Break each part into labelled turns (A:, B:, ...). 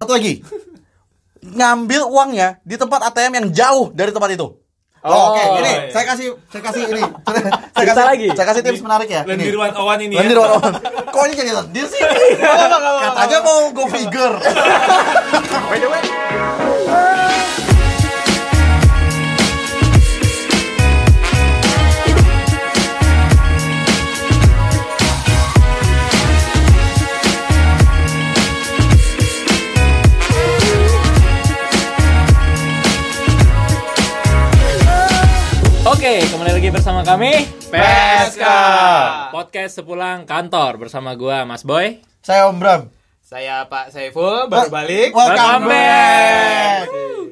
A: satu lagi ngambil uangnya di tempat ATM yang jauh dari tempat itu. Oh,
B: Oh,
A: Oke, ini
B: iya.
A: saya kasih saya kasih ini. Saya,
B: Cerita
A: kasih
B: lagi.
A: Saya kasih tips menarik ya. ini.
C: Lendirwan Owan ini ya.
A: Lendir Wawan. Kok ini jadi lendir sih? Iya. Katanya mau go figure.
B: By the way,
D: Oke, kembali lagi bersama kami
B: PSK.
D: Podcast Sepulang Kantor bersama gua Mas Boy.
A: Saya Om Bram.
B: Saya Pak Saiful baru balik.
A: Welcome
D: Welcome
A: back.
D: back.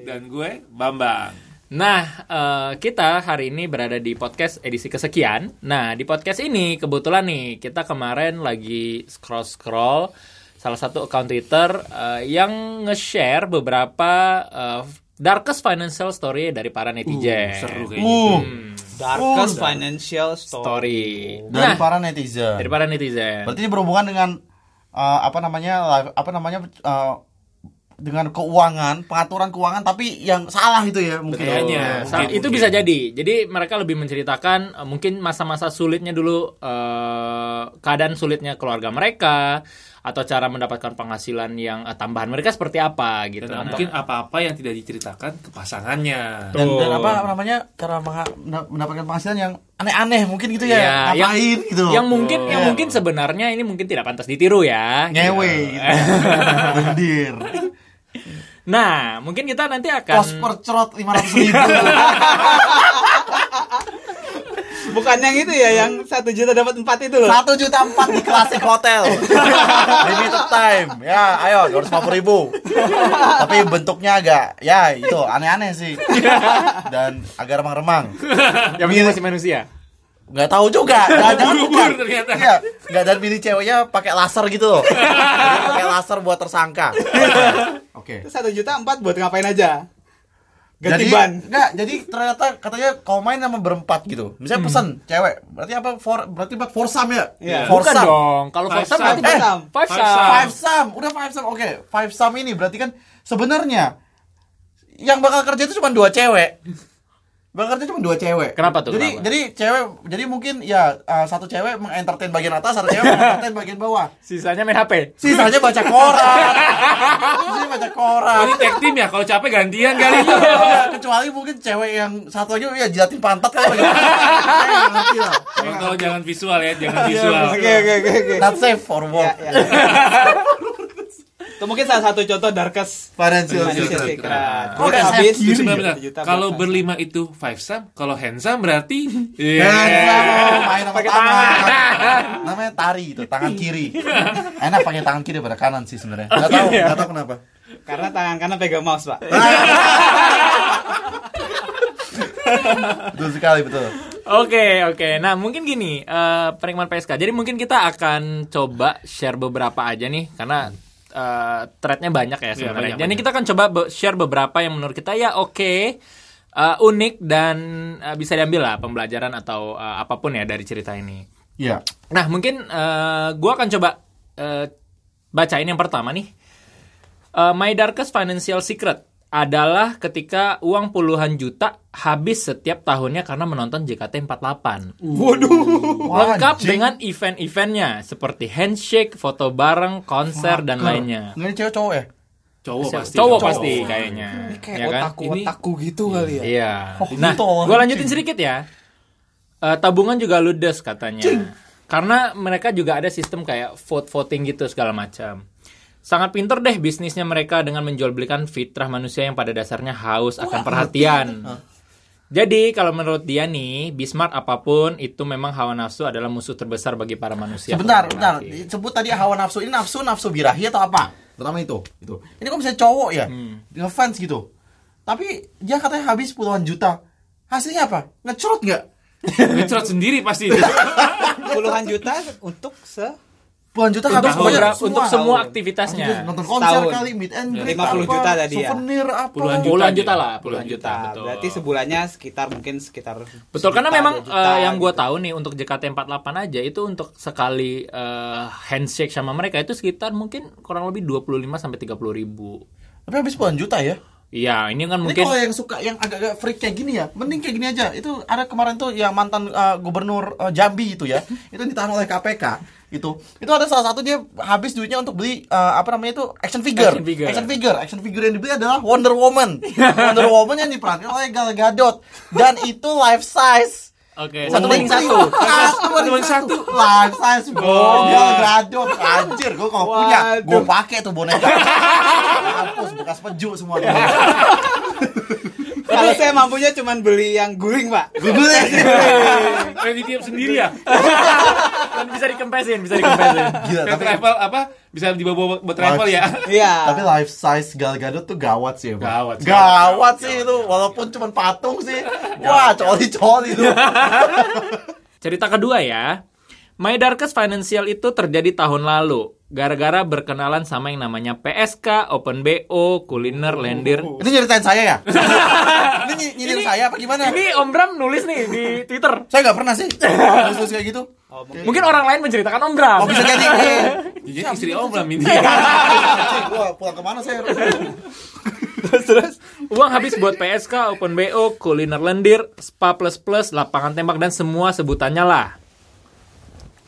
C: Dan gue Bambang.
D: Nah, eh, kita hari ini berada di podcast edisi kesekian. Nah, di podcast ini kebetulan nih kita kemarin lagi scroll scroll salah satu account Twitter eh, yang nge-share beberapa eh, darkest financial story dari para netizen.
C: Seru kayaknya.
A: Uh,
D: Hmm.
B: Darkest Financial Story.
D: story.
A: dari
D: Nah,
A: para netizen.
D: dari para netizen.
A: Berarti ini berhubungan dengan eh, apa namanya? live- apa namanya? eh, dengan keuangan, pengaturan keuangan tapi yang salah itu ya mungkin.
D: Kayaknya
A: Oh,
D: Sa-
A: mungkin.
D: itu bisa jadi. Jadi mereka lebih menceritakan eh, mungkin masa-masa sulitnya dulu eh, keadaan sulitnya keluarga mereka atau cara mendapatkan penghasilan yang eh, tambahan mereka seperti apa gitu.
C: Dan
D: Atau-
C: mungkin apa-apa yang tidak diceritakan ke pasangannya.
A: dan, dan apa namanya cara mengha- mendapatkan penghasilan yang aneh-aneh mungkin gitu ya,
D: Iya, yang-
A: ngapain gitu
D: yang mungkin yang
A: Iya.
D: mungkin sebenarnya ini mungkin tidak pantas ditiru ya.
A: ngewe gitu. lendir
D: Kan. Nah, mungkin kita nanti akan
A: kos per cerot lima ratus ribu
B: Bukan yang itu ya, yang satu juta dapat empat itu loh.
A: satu juta empat di klasik hotel limited time ya ayo dua ratus ribu tapi bentuknya agak ya itu aneh-aneh sih dan agak remang-remang
D: yang penting masih manusia.
A: nggak tahu juga nggak ada
C: Bubur ternyata.
A: Iya, nggak dan pilih ceweknya pakai laser gitu loh Jadi pakai laser buat tersangka oke
B: Itu Satu juta empat buat ngapain aja?
A: jadi,
B: Ganti ban.
A: Enggak, jadi ternyata katanya kau main sama berempat gitu. Misalnya pesen cewek, berarti apa? For, berarti buat foursome ya?
B: Iya.
D: Bukan
A: Foursome.
D: dong. Kalau
C: Five
D: foursome
C: sum.
D: berarti
A: Eh,
D: five
C: five
D: sum.
C: sum.
A: Five sum, udah five sum. Oke, five sum ini berarti kan sebenarnya yang bakal kerja itu cuma dua cewek. Bakal kerja cuma dua cewek.
D: Kenapa tuh?
A: Jadi
D: Kenapa?
A: jadi cewek jadi mungkin ya eh, satu cewek mengentertain bagian atas, satu cewek mengentertain bagian bawah.
D: Sisanya main HP.
A: Sisanya baca koran. Sisanya baca koran.
C: Oh, ini tag team ya, kalau capek gantian kali itu.
D: Iya.
A: kecuali mungkin cewek yang satu lagi ya jilatin pantat kan ngerti lah
C: Kalau kalau jangan visual ya, jangan
D: Iya,
C: visual.
B: Oke oke oke oke.
A: not safe for
B: Ya,
A: work
B: ya. Itu mungkin salah satu contoh darkest
A: financial
B: financial
A: secret.
B: secret.
A: Oh,
B: Udah
A: kayak
B: habis gitu,
A: saya kiri
C: Sebentar,
A: ya?
C: bentar.
B: Satu juta
C: Kalau
B: buat
C: berlima itu five sum, kalau handsome berarti Iya.
A: Nah, main sama
B: Iya. Pakai
A: tangan. Namanya tari itu, tangan kiri. Enak pakai tangan kiri pada kanan sih sebenarnya. Enggak tahu,
B: Iya.
A: enggak tahu kenapa.
B: Karena tangan kanan pegang mouse, Pak.
A: Betul sekali, betul.
D: Oke oke, nah mungkin gini eh penikmat PSK. Jadi mungkin kita akan coba share beberapa aja nih karena eh threadnya banyak ya sebenarnya.
C: Iya, banyak,
D: Jadi
C: banyak.
D: kita akan coba be- share beberapa yang menurut kita ya oke, eh, unik dan eh, bisa diambil lah pembelajaran atau eh, apapun ya dari cerita ini.
A: Iya.
D: Nah mungkin eh gue akan coba eh, bacain yang pertama nih. Eh, My darkest financial secret adalah ketika uang puluhan juta habis setiap tahunnya karena menonton JKT48.
A: Wah,
D: Lengkap
A: anjing.
D: dengan event-eventnya seperti handshake, foto bareng, konser dan
A: Fucker.
D: lainnya.
A: Nggak, ini cewek cowok ya?
C: cowok pasti.
D: Cowok pasti kayaknya.
B: Kayak
D: ya kan?
B: otaku-otaku gitu kali ya.
D: Iya.
A: Oh,
D: Nah,
A: gitu, orang
D: gue lanjutin sedikit ya. Eh, tabungan juga ludes katanya. Karena mereka juga ada sistem kayak vote voting gitu segala macam. Sangat pinter deh bisnisnya mereka dengan menjual belikan fitrah manusia yang pada dasarnya haus akan perhatian. Jadi kalau menurut dia nih, Bismarck apapun itu memang hawa nafsu adalah musuh terbesar bagi para manusia.
A: Sebentar, bentar.
D: Laki-laki.
A: Sebut tadi hawa nafsu. Ini nafsu nafsu birahi atau apa? Pertama itu. Itu. Ini kok bisa cowok ya? Ngefans gitu. Tapi dia katanya habis puluhan juta. Hasilnya apa? Ngecerut nggak?
C: Ngecerot sendiri pasti itu.
B: Puluhan juta untuk se
A: puluhan juta
D: Untuk
A: habis
C: Tahun.
A: bayar
D: beberapa- untuk semua
A: Tahun.
D: aktivitasnya.
A: Habis nonton konser
B: Setahun.
A: kali meet and greet
B: 50
A: apa,
B: juta tadi ya.
A: souvenir apa
C: Puluhan juta.
D: Puluhan
C: dia.
D: juta lah,
C: Puluhan
D: puluhan
C: juta,
D: juta.
B: Nah,
D: betul.
B: berarti sebulannya sekitar mungkin sekitar
D: Betul karena
B: sejuta,
D: memang
B: dua juta
D: eh, yang gue
B: gitu.
D: tahu nih untuk JKT48 aja itu untuk sekali eh, handshake sama mereka itu sekitar mungkin kurang lebih 25 sampai 30 ribu.
A: tapi habis puluhan juta ya
D: Iya, ini kan
A: ini
D: mungkin
A: kalau yang suka yang agak-agak freak kayak gini ya mending kayak gini aja itu ada kemarin tuh yang mantan eh, gubernur eh, Jambi itu ya itu ditahan oleh KPK itu gitu. itu ada salah satu dia habis duitnya untuk beli eh, apa namanya itu action figure.
D: Action figure.
A: action figure action figure yang dibeli adalah Wonder Woman Wonder Woman yang diperankan oleh Gal Gadot dan itu life size Oh.
D: Oke, Eh, satu banding satu. Oh.
A: Satu banding satu. Life size bro. Gal Gadot. Anjir, gue kalau punya, gue pakai tuh boneka. Hapus bekas peju semua. tuh.
B: Kalau saya mampunya cuman beli yang guling, Pak.
A: Gugulin.
C: Main ditiup sendiri ya?
D: Dan bisa dikempesin, bisa dikempesin.
A: Gila,
C: Kayak
A: tapi
C: travel apa? Bisa dibawa buat travel ya?
B: Iya.
A: tapi life size Gal Gadot tuh gawat sih emang.
C: Gawat,
A: Gawat, sih itu walaupun cuman patung sih. Wah, coli-coli lu.
D: Cerita kedua ya. My Darkest Financial itu terjadi tahun lalu. Gara-gara berkenalan sama yang namanya PSK, Open BO, Kuliner, Lendir.
A: Ini nyeritain saya ya? Ini ny- nyindir saya apa gimana?
D: Ini Om Bram nulis nih di Twitter.
A: Saya nggak pernah sih. Terus kayak gitu.
B: Oh, mungkin.
D: Mungkin orang lain menceritakan Om Bram.
A: Oh bisa jadi. Eh,
C: Jadi istri Om lah Mindy.
A: Cik, Gua pulang kemana saya?
D: Uang habis buat PSK, Open BO, Kuliner Lendir, Spa Plus Plus, lapangan tembak dan semua sebutannya lah.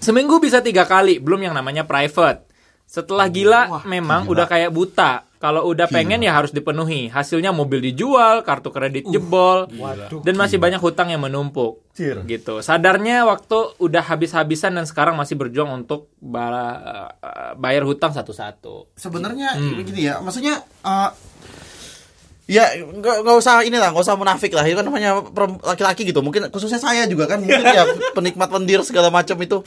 D: Seminggu bisa tiga kali, belum yang namanya private. Setelah gila, memang udah kayak buta. Kalau udah pengen ya harus dipenuhi. Hasilnya mobil dijual, kartu kredit
C: Uh,
D: jebol, dan masih banyak hutang yang menumpuk.
A: Cir.
D: Gitu. Sadarnya waktu udah habis-habisan dan sekarang masih berjuang untuk bala- eh, bayar hutang satu-satu.
A: sebenarnya
D: Hmm.
A: gini ya maksudnya eh, ya nggak nggak usah ini lah nggak usah munafik lah itu kan namanya perem- laki-laki gitu mungkin khususnya saya juga kan mungkin ya penikmat lendir segala macam itu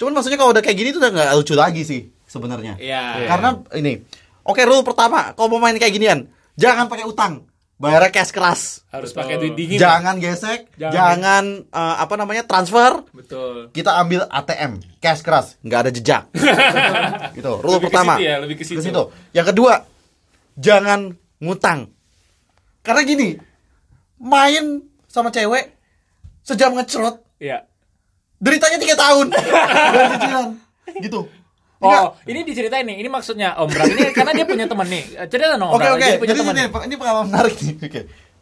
A: cuman maksudnya kalau udah kayak gini tuh udah nggak lucu lagi sih sebenarnya
D: Iya.
A: karena ini oke rule pertama kalau mau main kayak ginian jangan pakai utang bayarnya cash keras
C: Harus pakai duit dingin.
A: jangan gesek jangan,
D: Jangan.
A: eh, apa namanya transfer
D: Betul.
A: kita ambil ATM cash keras nggak ada jejak itu rule
C: Lebih ke
A: pertama
C: situ ya, lebih ke situ.
A: yang kedua jangan ngutang karena gini main sama cewek sejam ngecerot
D: Iya.
A: deritanya tiga tahun Dan cicilan gitu
D: Oh,
A: Enggak.
D: ini diceritain nih. Ini maksudnya Om Bram ini karena dia punya teman nih. Eh, Cerita dong Om
A: oke
D: Bram.
A: oke
D: Dia punya
A: jadi
D: teman. ya?
A: ini, ini pengalaman menarik nih oke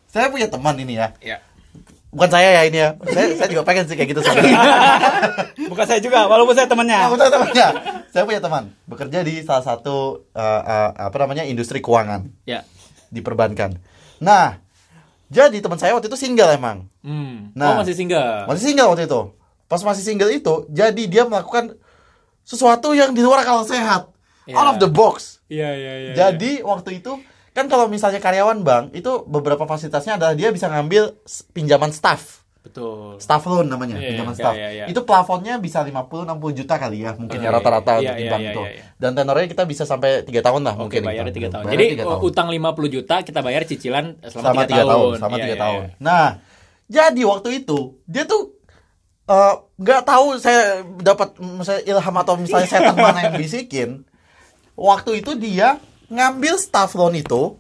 A: saya punya teman ini ya
D: Iya.
A: bukan saya ya ini ya saya, saya juga pengen sih kayak gitu sebenarnya
B: Bukan saya juga, walaupun saya
C: Iya.
A: Nah,
B: temannya.
A: betul temannya. Saya punya teman bekerja di salah satu eh, eh, apa namanya industri keuangan
D: Ya.
C: Iya.
A: di perbankan. Nah, jadi teman saya waktu itu single emang.
D: Hmm.
A: Nah.
D: oh, masih
C: Iya.
D: single.
A: Masih single waktu itu. Pas masih single itu, jadi dia melakukan sesuatu yang di luar akal sehat.
D: Iya.
A: Out of the box.
C: Iya, iya, iya.
A: jadi waktu itu kan kalau misalnya karyawan bank itu beberapa fasilitasnya adalah dia bisa ngambil s- pinjaman staff.
D: Betul.
A: Staff loan namanya,
D: Iya,
A: pinjaman
D: iya,
A: staff.
D: iya, iya.
A: Itu plafonnya bisa 50 60 juta kali ya, mungkin ya
D: Oke.
A: rata-rata
D: Iya,
A: untuk di
D: iya,
A: bank
D: iya,
A: itu.
D: iya, iya.
A: Dan tenornya kita bisa sampai 3 tahun lah
D: Oke,
A: mungkin.
D: bayarnya
A: gitu.
D: tiga tahun.
A: Bayarnya
D: Jadi
A: tiga
D: oh,
A: tahun.
D: utang 50 juta kita bayar cicilan
A: selama,
D: selama, tiga
A: 3 tahun.
D: tahun.
A: selama
D: Iya,
A: tiga
D: iya,
A: tahun.
D: iya.
A: Nah, jadi waktu itu dia tuh eh, nggak tahu saya dapat misalnya ilham atau misalnya setan mana yang bisikin. Waktu itu dia ngambil staff loan itu,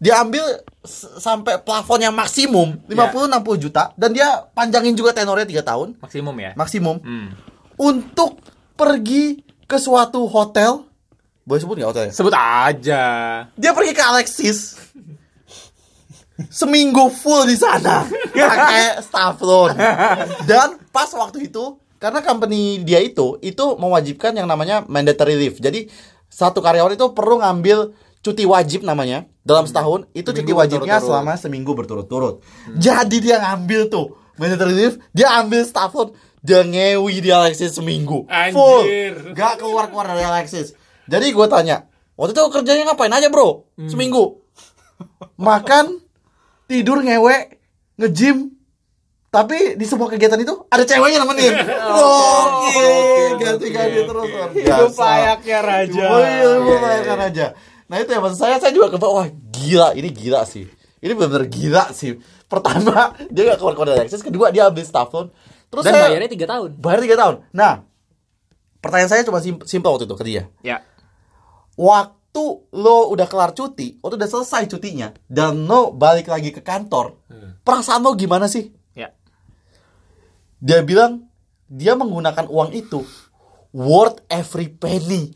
A: dia ambil s- sampai plafon yang maksimum
D: Iya.
A: 50 60 juta dan dia panjangin juga tenornya 3 tahun
D: Maksimum ya.
A: maksimum
D: Hmm.
A: untuk pergi ke suatu hotel. Boleh sebut nggak hotelnya?
D: Sebut aja.
A: Dia pergi ke Alexis. Seminggu full di sana pakai Ya, staff loan. Dan pas waktu itu karena company dia itu itu mewajibkan yang namanya mandatory leave. Jadi satu karyawan itu perlu ngambil cuti wajib namanya dalam setahun itu cuti wajibnya selama seminggu berturut-turut. Jadi dia ngambil tuh mandatory leave, dia ambil staff loan, dia ngewi di Alexis seminggu. Full.
C: Anjir.
A: Gak keluar-keluar dari Alexis. Jadi gue tanya, waktu itu kerjanya ngapain aja bro? Seminggu. Makan, tidur, ngewe, ngejim. Tapi di semua kegiatan itu ada ceweknya nemenin. Oh, Oke, ya. ganti-ganti terus. luar
B: Hidup
A: biasa.
B: layaknya raja.
A: Wih, lu bayangkan aja. Nah itu ya maksud saya, saya juga kebawa, wah gila, ini gila sih. Ini benar-benar gila sih. Pertama, dia gak keluar keluar dari Alexis. Kedua, dia ambil staff loan. Terus
D: Dan
A: saya-
D: bayarnya tiga tahun.
A: Bayar 3 tahun. Nah, pertanyaan saya cuma sim- simple waktu itu ke dia
D: Ya.
A: waktu lo udah kelar cuti waktu udah selesai cutinya dan lo balik lagi ke kantor perasaan lo gimana sih
D: Ya.
A: dia bilang dia menggunakan uang itu worth every penny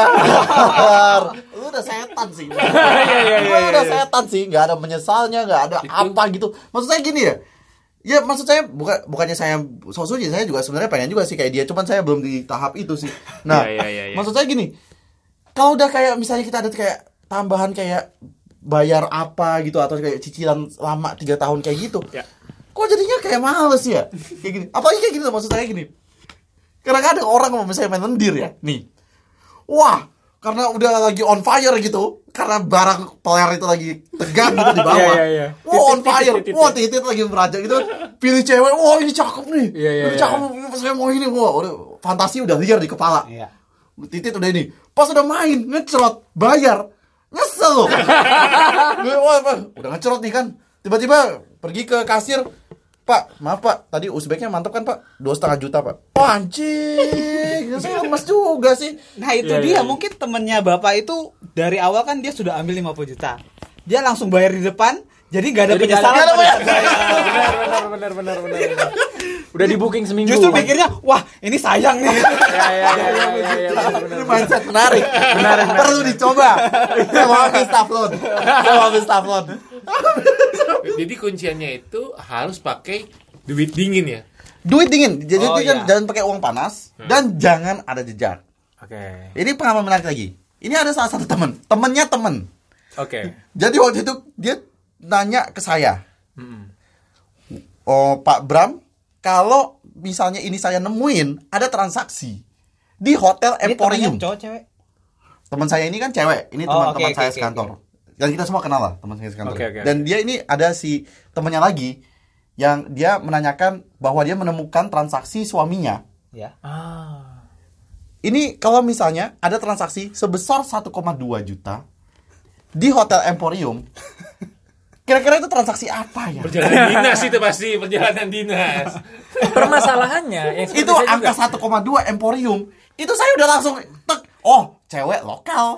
A: fucker lu udah setan sih lu udah setan sih nggak ada menyesalnya nggak ada apa gitu maksud saya gini ya Ya maksud saya bukan bukannya saya sosuji saya juga sebenarnya pengen juga sih kayak dia cuman saya belum di tahap itu sih. Nah,
D: Iya, iya, iya, iya.
A: maksud saya gini. Kalau udah kayak misalnya kita ada kayak tambahan kayak bayar apa gitu atau kayak cicilan lama tiga tahun kayak gitu.
D: Ya.
A: Kok jadinya kayak males ya? Kayak gini. Apalagi kayak gini loh, maksud saya gini. Karena kadang orang mau misalnya main lendir ya, nih. Wah, karena udah lagi on fire gitu, karena barang player itu lagi tegang gitu di bawah.
D: Iya, iya, iya.
A: Wah, on
D: Titit,
A: fire.
D: titit, titit.
A: Wah, titit lagi merajak gitu. Pilih cewek, wah ini cakep nih.
D: Iya, iya,
A: ini
D: iya.
A: cakep, ini saya mau ini. Wah, udah fantasi udah liar di kepala.
B: Iya.
A: Titit udah ini. Pas udah main, ngecerot, bayar. Nyesel loh. Gue, wah, wah, udah ngecerot nih kan. Tiba-tiba pergi ke kasir. Pak, maaf pak, tadi Uzbeknya mantap kan pak? Dua setengah juta pak. Wah, Anjing, saya lemes juga sih.
B: Nah itu
D: Iya,
B: dia
D: iya, iya.
B: mungkin temennya bapak itu dari awal kan dia sudah ambil 50 juta. Dia langsung bayar di depan. Jadi nggak ada
D: Jadi nggak ada
B: penyesalan. Iya.
A: penyesalan.
D: benar, benar, benar, benar, benar, benar. Udah di booking seminggu. Iya,
B: Justru mikirnya, wah ini sayang nih.
D: Ya, ya, ya, ya, ya, ya, benar, benar.
A: Ini mindset menarik. Perlu dicoba. Saya mau ambil staff loan. Saya mau ambil staff loan.
C: Jadi kunciannya itu harus pakai duit dingin ya.
A: Duit dingin. Jadi
B: Oh,
A: jangan,
B: iya. Hmm.
A: jangan pakai uang panas dan jangan ada jejak.
D: Oke.
A: Ini pengalaman menarik lagi. Ini ada salah satu temen. Temennya temen.
D: Oke.
A: Jadi waktu itu dia nanya ke saya.
B: Hmm.
A: Oh Pak Bram, kalau misalnya ini saya nemuin ada transaksi di hotel
B: Ini
A: Emporium.
B: temennya cowok cewek.
A: teman saya ini kan cewek ini
B: Oh,
A: teman-teman
B: oke, oke,
A: saya
B: oke,
A: sekantor dan kita semua kenal lah teman saya sekantor
D: Oke, oke,
A: dan dia ini ada si temannya lagi yang dia menanyakan bahwa dia menemukan transaksi suaminya
B: Ya.
D: Ah.
A: ini kalau misalnya ada transaksi sebesar 1,2 juta di hotel Emporium kira-kira itu transaksi apa ya
C: Perjalanan dinas itu pasti, perjalanan dinas.
D: Permasalahannya yang seperti
A: itu
D: saya juga.
A: angka 1,2 Emporium itu saya udah langsung tek oh cewek lokal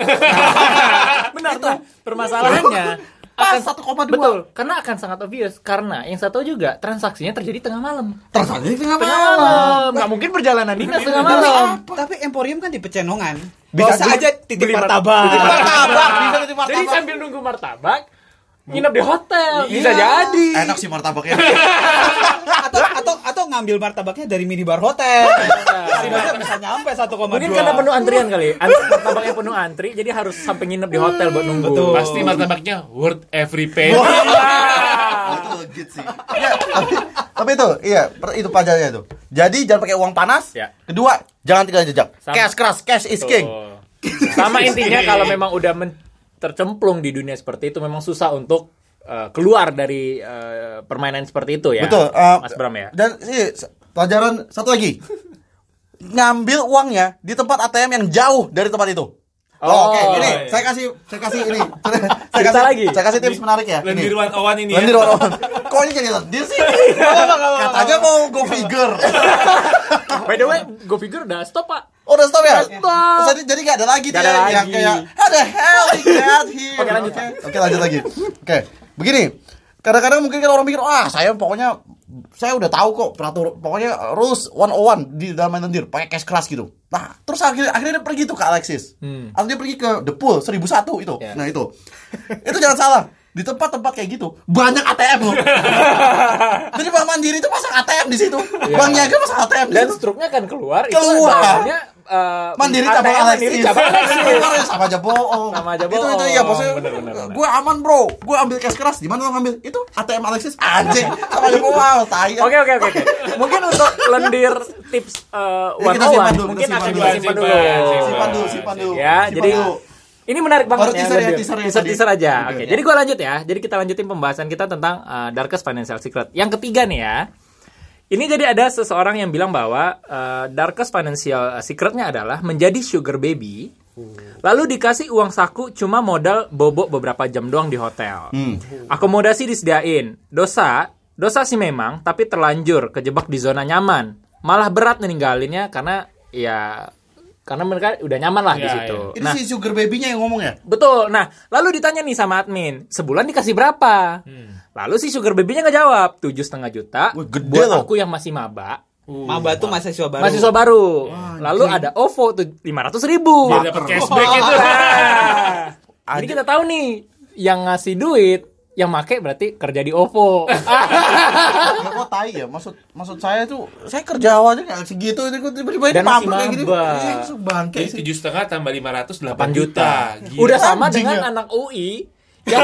D: benar tuh permasalahannya
A: Pas
D: akan
A: 1,2.
D: betul karena akan sangat obvious karena yang satu juga transaksinya terjadi tengah malam
A: transaksi tengah
D: tengah
A: malam
D: malam nggak mungkin perjalanan dinas tengah
B: Tapi,
D: malam
B: tapi Emporium kan di Pecenongan.
A: Bisa
B: Bisa Bisa
A: beli-
B: aja titip
D: beli
B: martabak.
A: martabak bisa di martabak
D: jadi sambil nunggu martabak nginep di hotel bisa
A: Iya.
D: jadi
A: enak sih martabaknya
B: atau atau atau ngambil martabaknya dari minibar hotel. Setidaknya bisa nyampe 1,2.
D: mungkin karena penuh antrian kali Ant- martabaknya penuh antri jadi harus sampai nginep di hotel buat nunggu
B: Betul.
C: Pasti martabaknya worth every
D: Ah.
C: penny.
A: Wah, itu legit sih. Iya, tapi, tapi itu, iya, per- itu pelajarannya itu. Jadi jangan pakai uang panas.
D: Ya.
A: Kedua, jangan tinggal jejak.
D: Sama. Ya.
A: Cash keras, cash is king.
C: Tuh.
D: sama intinya kalau memang udah men- tercemplung di dunia seperti itu memang susah untuk eh, keluar dari eh, permainan seperti itu ya
A: Betul. eh,
D: Mas Bram ya
A: Dan iya, se- pelajaran satu lagi. Ngambil uangnya di tempat ATM yang jauh dari tempat itu. Oh,
D: Oh,
A: Oke, ini
D: iya.
A: saya kasih saya kasih ini. Saya,
D: Cerita
A: kasih
D: lagi.
A: Saya kasih tips menarik ya.
C: Lendir
A: ini.
C: 101 ini ya.
A: Lendir one on. Kok ini jadi lendir sih? Katanya mau go figure. ah,
D: By the way, gue pikir udah stop pak.
A: Oh, udah stop ya?
D: Udah stop.
A: Jadi, jadi gak ada lagi
D: Gak
A: dia
D: ada lagi.
A: yang kayak How the hell he got here?
D: Oke, lanjut,
A: Oke,
D: Pak.
A: Oke, lanjut lagi Oke, begini Kadang-kadang mungkin kan orang mikir Wah, saya pokoknya Saya udah tahu kok peraturan Pokoknya rules 101 di dalam main lendir Pakai cash keras gitu Nah, terus akhirnya, akhirnya dia pergi tuh ke Alexis Atau dia pergi ke The Pool 1001 itu
D: Hmm. Ya.
A: Nah, itu Itu jangan salah di tempat-tempat kayak gitu banyak ATM loh. Jadi Bank Mandiri itu pasang ATM di situ. Bang Niaga pasang ATM di
D: Ya. Dan
A: situ.
D: struknya akan keluar.
A: Keluar.
D: Itu uh,
A: Mandiri cabang Alexis.
D: Mandiri cabang Alexis.
A: Keluar ya, sama aja bohong.
D: Sama aja
A: Itu itu
D: bohong.
A: ya maksudnya
D: Bener, bener, bener.
A: gue aman bro. Gue ambil cash keras di mana lo ngambil? Itu ATM Alexis anjing. Sama aja bohong. Tai.
D: Oke oke oke. oke. Mungkin untuk lendir tips uh,
A: Ya,
D: one
A: kita
D: on
A: simpan
D: one,
A: dulu, kita
D: mungkin
A: simpan
D: akan
A: dulu.
D: kita simpan dulu.
C: Simpan,
A: Simpan dulu, simpan dulu.
D: Ya,
A: Simpan
D: jadi
A: dulu.
D: ini menarik
A: Baru
D: banget
A: teaser ya,
D: Lendir.
A: teaser ya
D: teaser,
A: tadi.
D: teaser aja.
A: Oke.
D: Oke, jadi gue lanjut ya. Jadi kita lanjutin pembahasan kita tentang uh, darkest financial secret. Yang ketiga nih ya. Ini jadi ada seseorang yang bilang bahwa uh, darkest financial eh, secretnya adalah menjadi sugar baby, lalu dikasih uang saku cuma modal bobok beberapa jam doang di hotel. Akomodasi disediain. Dosa, dosa sih memang, tapi terlanjur kejebak di zona nyaman. malah berat ninggalinnya karena ya karena mereka udah nyaman lah di
C: Iya,
D: situ.
A: Ini
D: Nah,
A: si sugar baby-nya yang ngomong ya?
D: betul. Nah, lalu ditanya nih sama admin, sebulan dikasih berapa? Lalu si sugar baby-nya nggak jawab, tujuh setengah juta.
A: Wih, gede
D: buat
A: loh.
D: aku yang masih maba,
B: Maba tuh mahasiswa baru.
D: mahasiswa baru. Lalu ada OVO tuh lima ratus ribu.
C: Biar dapat Iya, cashback itu.
D: Nah, Jadi kita tahu nih yang ngasih duit, yang make berarti kerja di OVO.
A: Ya, kok tai ya? Maksud maksud saya tuh saya kerja awalnya nggak segitu itu kok tiba-tiba ini
D: Dan masih
A: pabrik kayak gini.
D: maba.
A: Iya, langsung bangke
C: Jadi
A: sih.
C: tujuh setengah tambah lima ratus delapan
D: 8
C: juta.
D: juta.
C: Gila.
D: Udah sama
A: Anjing
D: dengan
A: ya.
D: anak UI. Yang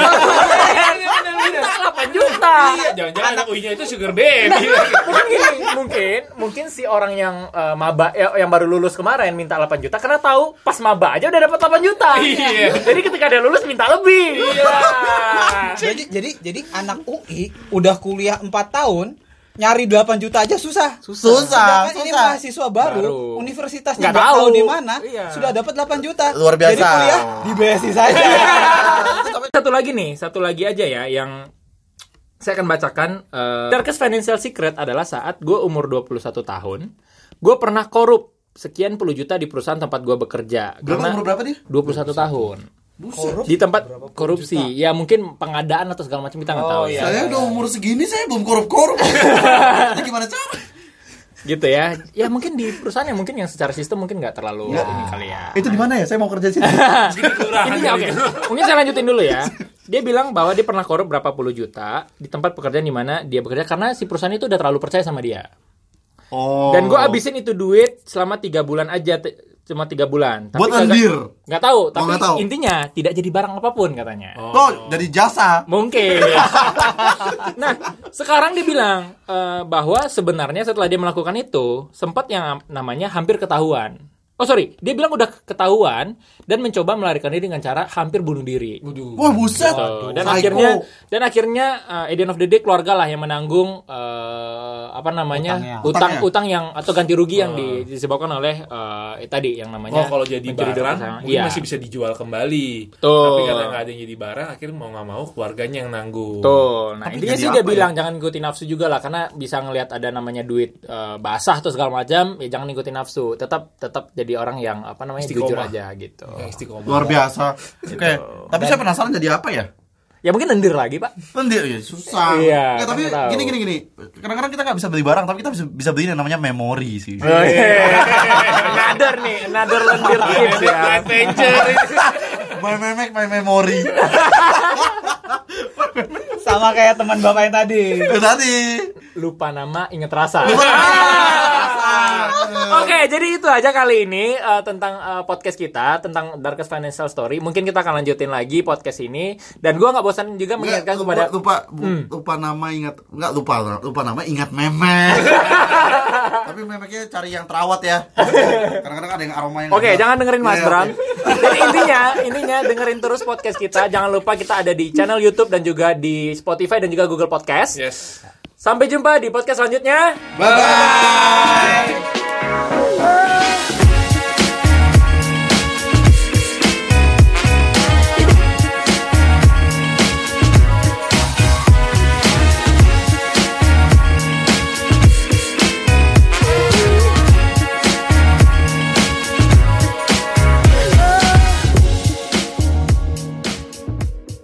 D: delapan juta.
C: Iya. Jangan-jangan anak UI-nya itu sugar baby.
D: Mungkin gini, mungkin mungkin si orang yang eh, maba ya, yang baru lulus kemarin minta 8 juta karena tahu pas maba aja udah dapat 8 juta.
C: Iya.
D: Jadi ketika dia lulus minta lebih. Iya.
B: Jadi jadi jadi anak UI udah kuliah 4 tahun nyari 8 juta aja susah.
A: Susah,
B: Sedangkan ini
A: susah.
B: mahasiswa baru,
D: Baru.
B: universitasnya
D: Nggak
B: nggak tahu
D: tahu.
B: di mana,
D: Iya.
B: sudah dapat 8 juta.
A: Luar biasa.
B: Jadi kuliah di BSI saja.
D: satu lagi nih, satu lagi aja ya yang saya akan bacakan eh, Darkest Financial Secret adalah saat gue umur 21 tahun, gue pernah korup sekian puluh juta di perusahaan tempat gue bekerja.
A: Berapa
D: Karena
A: umur berapa dia?
D: 21 tahun. Di tempat korupsi. Ya mungkin pengadaan atau segala macam kita nggak tahu ya.
A: Saya udah umur segini saya belum korup-korup. Ini gimana cara?
D: Gitu ya. Ya mungkin di perusahaan yang mungkin yang secara sistem mungkin nggak terlalu ini kali ya.
A: Itu di mana ya? Saya mau kerja sini.
C: Jadi kelurahan
D: Intinya oke.
C: gitu.
D: Mungkin saya lanjutin dulu ya. Dia bilang bahwa dia pernah korup berapa puluh juta di tempat pekerjaan di mana dia bekerja karena si perusahaan itu udah terlalu percaya sama dia.
A: Oh.
D: Dan gue abisin itu duit selama tiga bulan aja, t- cuma tiga bulan.
A: Buat
D: kagak-
A: lendir?
D: Nggak tahu, tapi
A: Oh, nggak tahu.
D: intinya tidak jadi barang apapun katanya.
A: Oh, dari jasa.
D: Mungkin. nah, sekarang dia bilang eh, bahwa sebenarnya setelah dia melakukan itu sempat yang namanya hampir ketahuan. Oh sorry, dia bilang udah ketahuan dan mencoba melarikan diri dengan cara hampir bunuh diri.
A: Wah, buset.
D: Tuh, Dan
A: Psycho.
D: akhirnya dan akhirnya eh, at the end of the day keluarga lah yang menanggung eh, apa
A: Utangnya.
D: namanya utang
A: Utangnya. Oh.
D: utang yang atau ganti rugi yang di- disebabkan oleh eh, tadi yang namanya
C: Oh kalau jadi
D: mencuri
C: barang
D: tersangka.
C: mungkin
D: Iya.
C: masih bisa dijual kembali.
D: Betul.
C: Tapi karena nggak ada yang jadi barang akhirnya mau nggak mau keluarganya yang nanggung.
D: Betul. Nah,
A: Tapi
D: intinya
A: jadi
D: sih dia
A: apa ya?
D: bilang jangan ngikutin nafsu juga lah karena bisa ngelihat ada namanya duit eh, basah atau segala macam, ya jangan ngikutin nafsu. Tetap tetap jadi orang yang apa namanya
C: Istiqomah.
D: jujur aja gitu.
C: Yang Eh, istiqomah.
A: Luar biasa. Oke. Tapi saya penasaran jadi apa ya?
D: Ya mungkin lendir lagi, Pak.
A: Lendir ya susah.
D: Iya,
A: Nggak, tapi
D: kan tahu.
A: gini gini gini. Kadang-kadang kita nggak bisa beli barang, tapi kita bisa bisa beli yang namanya memori sih.
D: another nih, another lendir
A: Iya,
D: tips ya.
C: Adventure.
A: my memek, my memory.
B: Sama kayak teman Bapak yang tadi.
A: Tadi.
D: Lupa nama, ingat rasa.
A: Ah.
D: Oke, jadi itu aja kali ini eh, tentang eh, podcast kita tentang Darkest Financial Story. Mungkin kita akan lanjutin lagi podcast ini dan gua nggak bosan juga
A: Nggak,
D: mengingatkan
A: lupa,
D: kepada Hmm.
A: lupa bu- lupa nama ingat nggak lupa lupa nama ingat memek tapi memeknya cari yang terawat ya kadang-kadang ada yang aroma yang
D: Oke,
A: nggak-
D: jangan dengerin Mas
A: Iya,
D: Bram.
A: oke.
D: Jadi intinya, intinya dengerin terus podcast kita. Jangan lupa kita ada di channel YouTube dan juga di
A: Iya.
D: Spotify dan juga Google Podcast.
C: Yes.
D: Sampai jumpa di podcast selanjutnya.
A: bye bye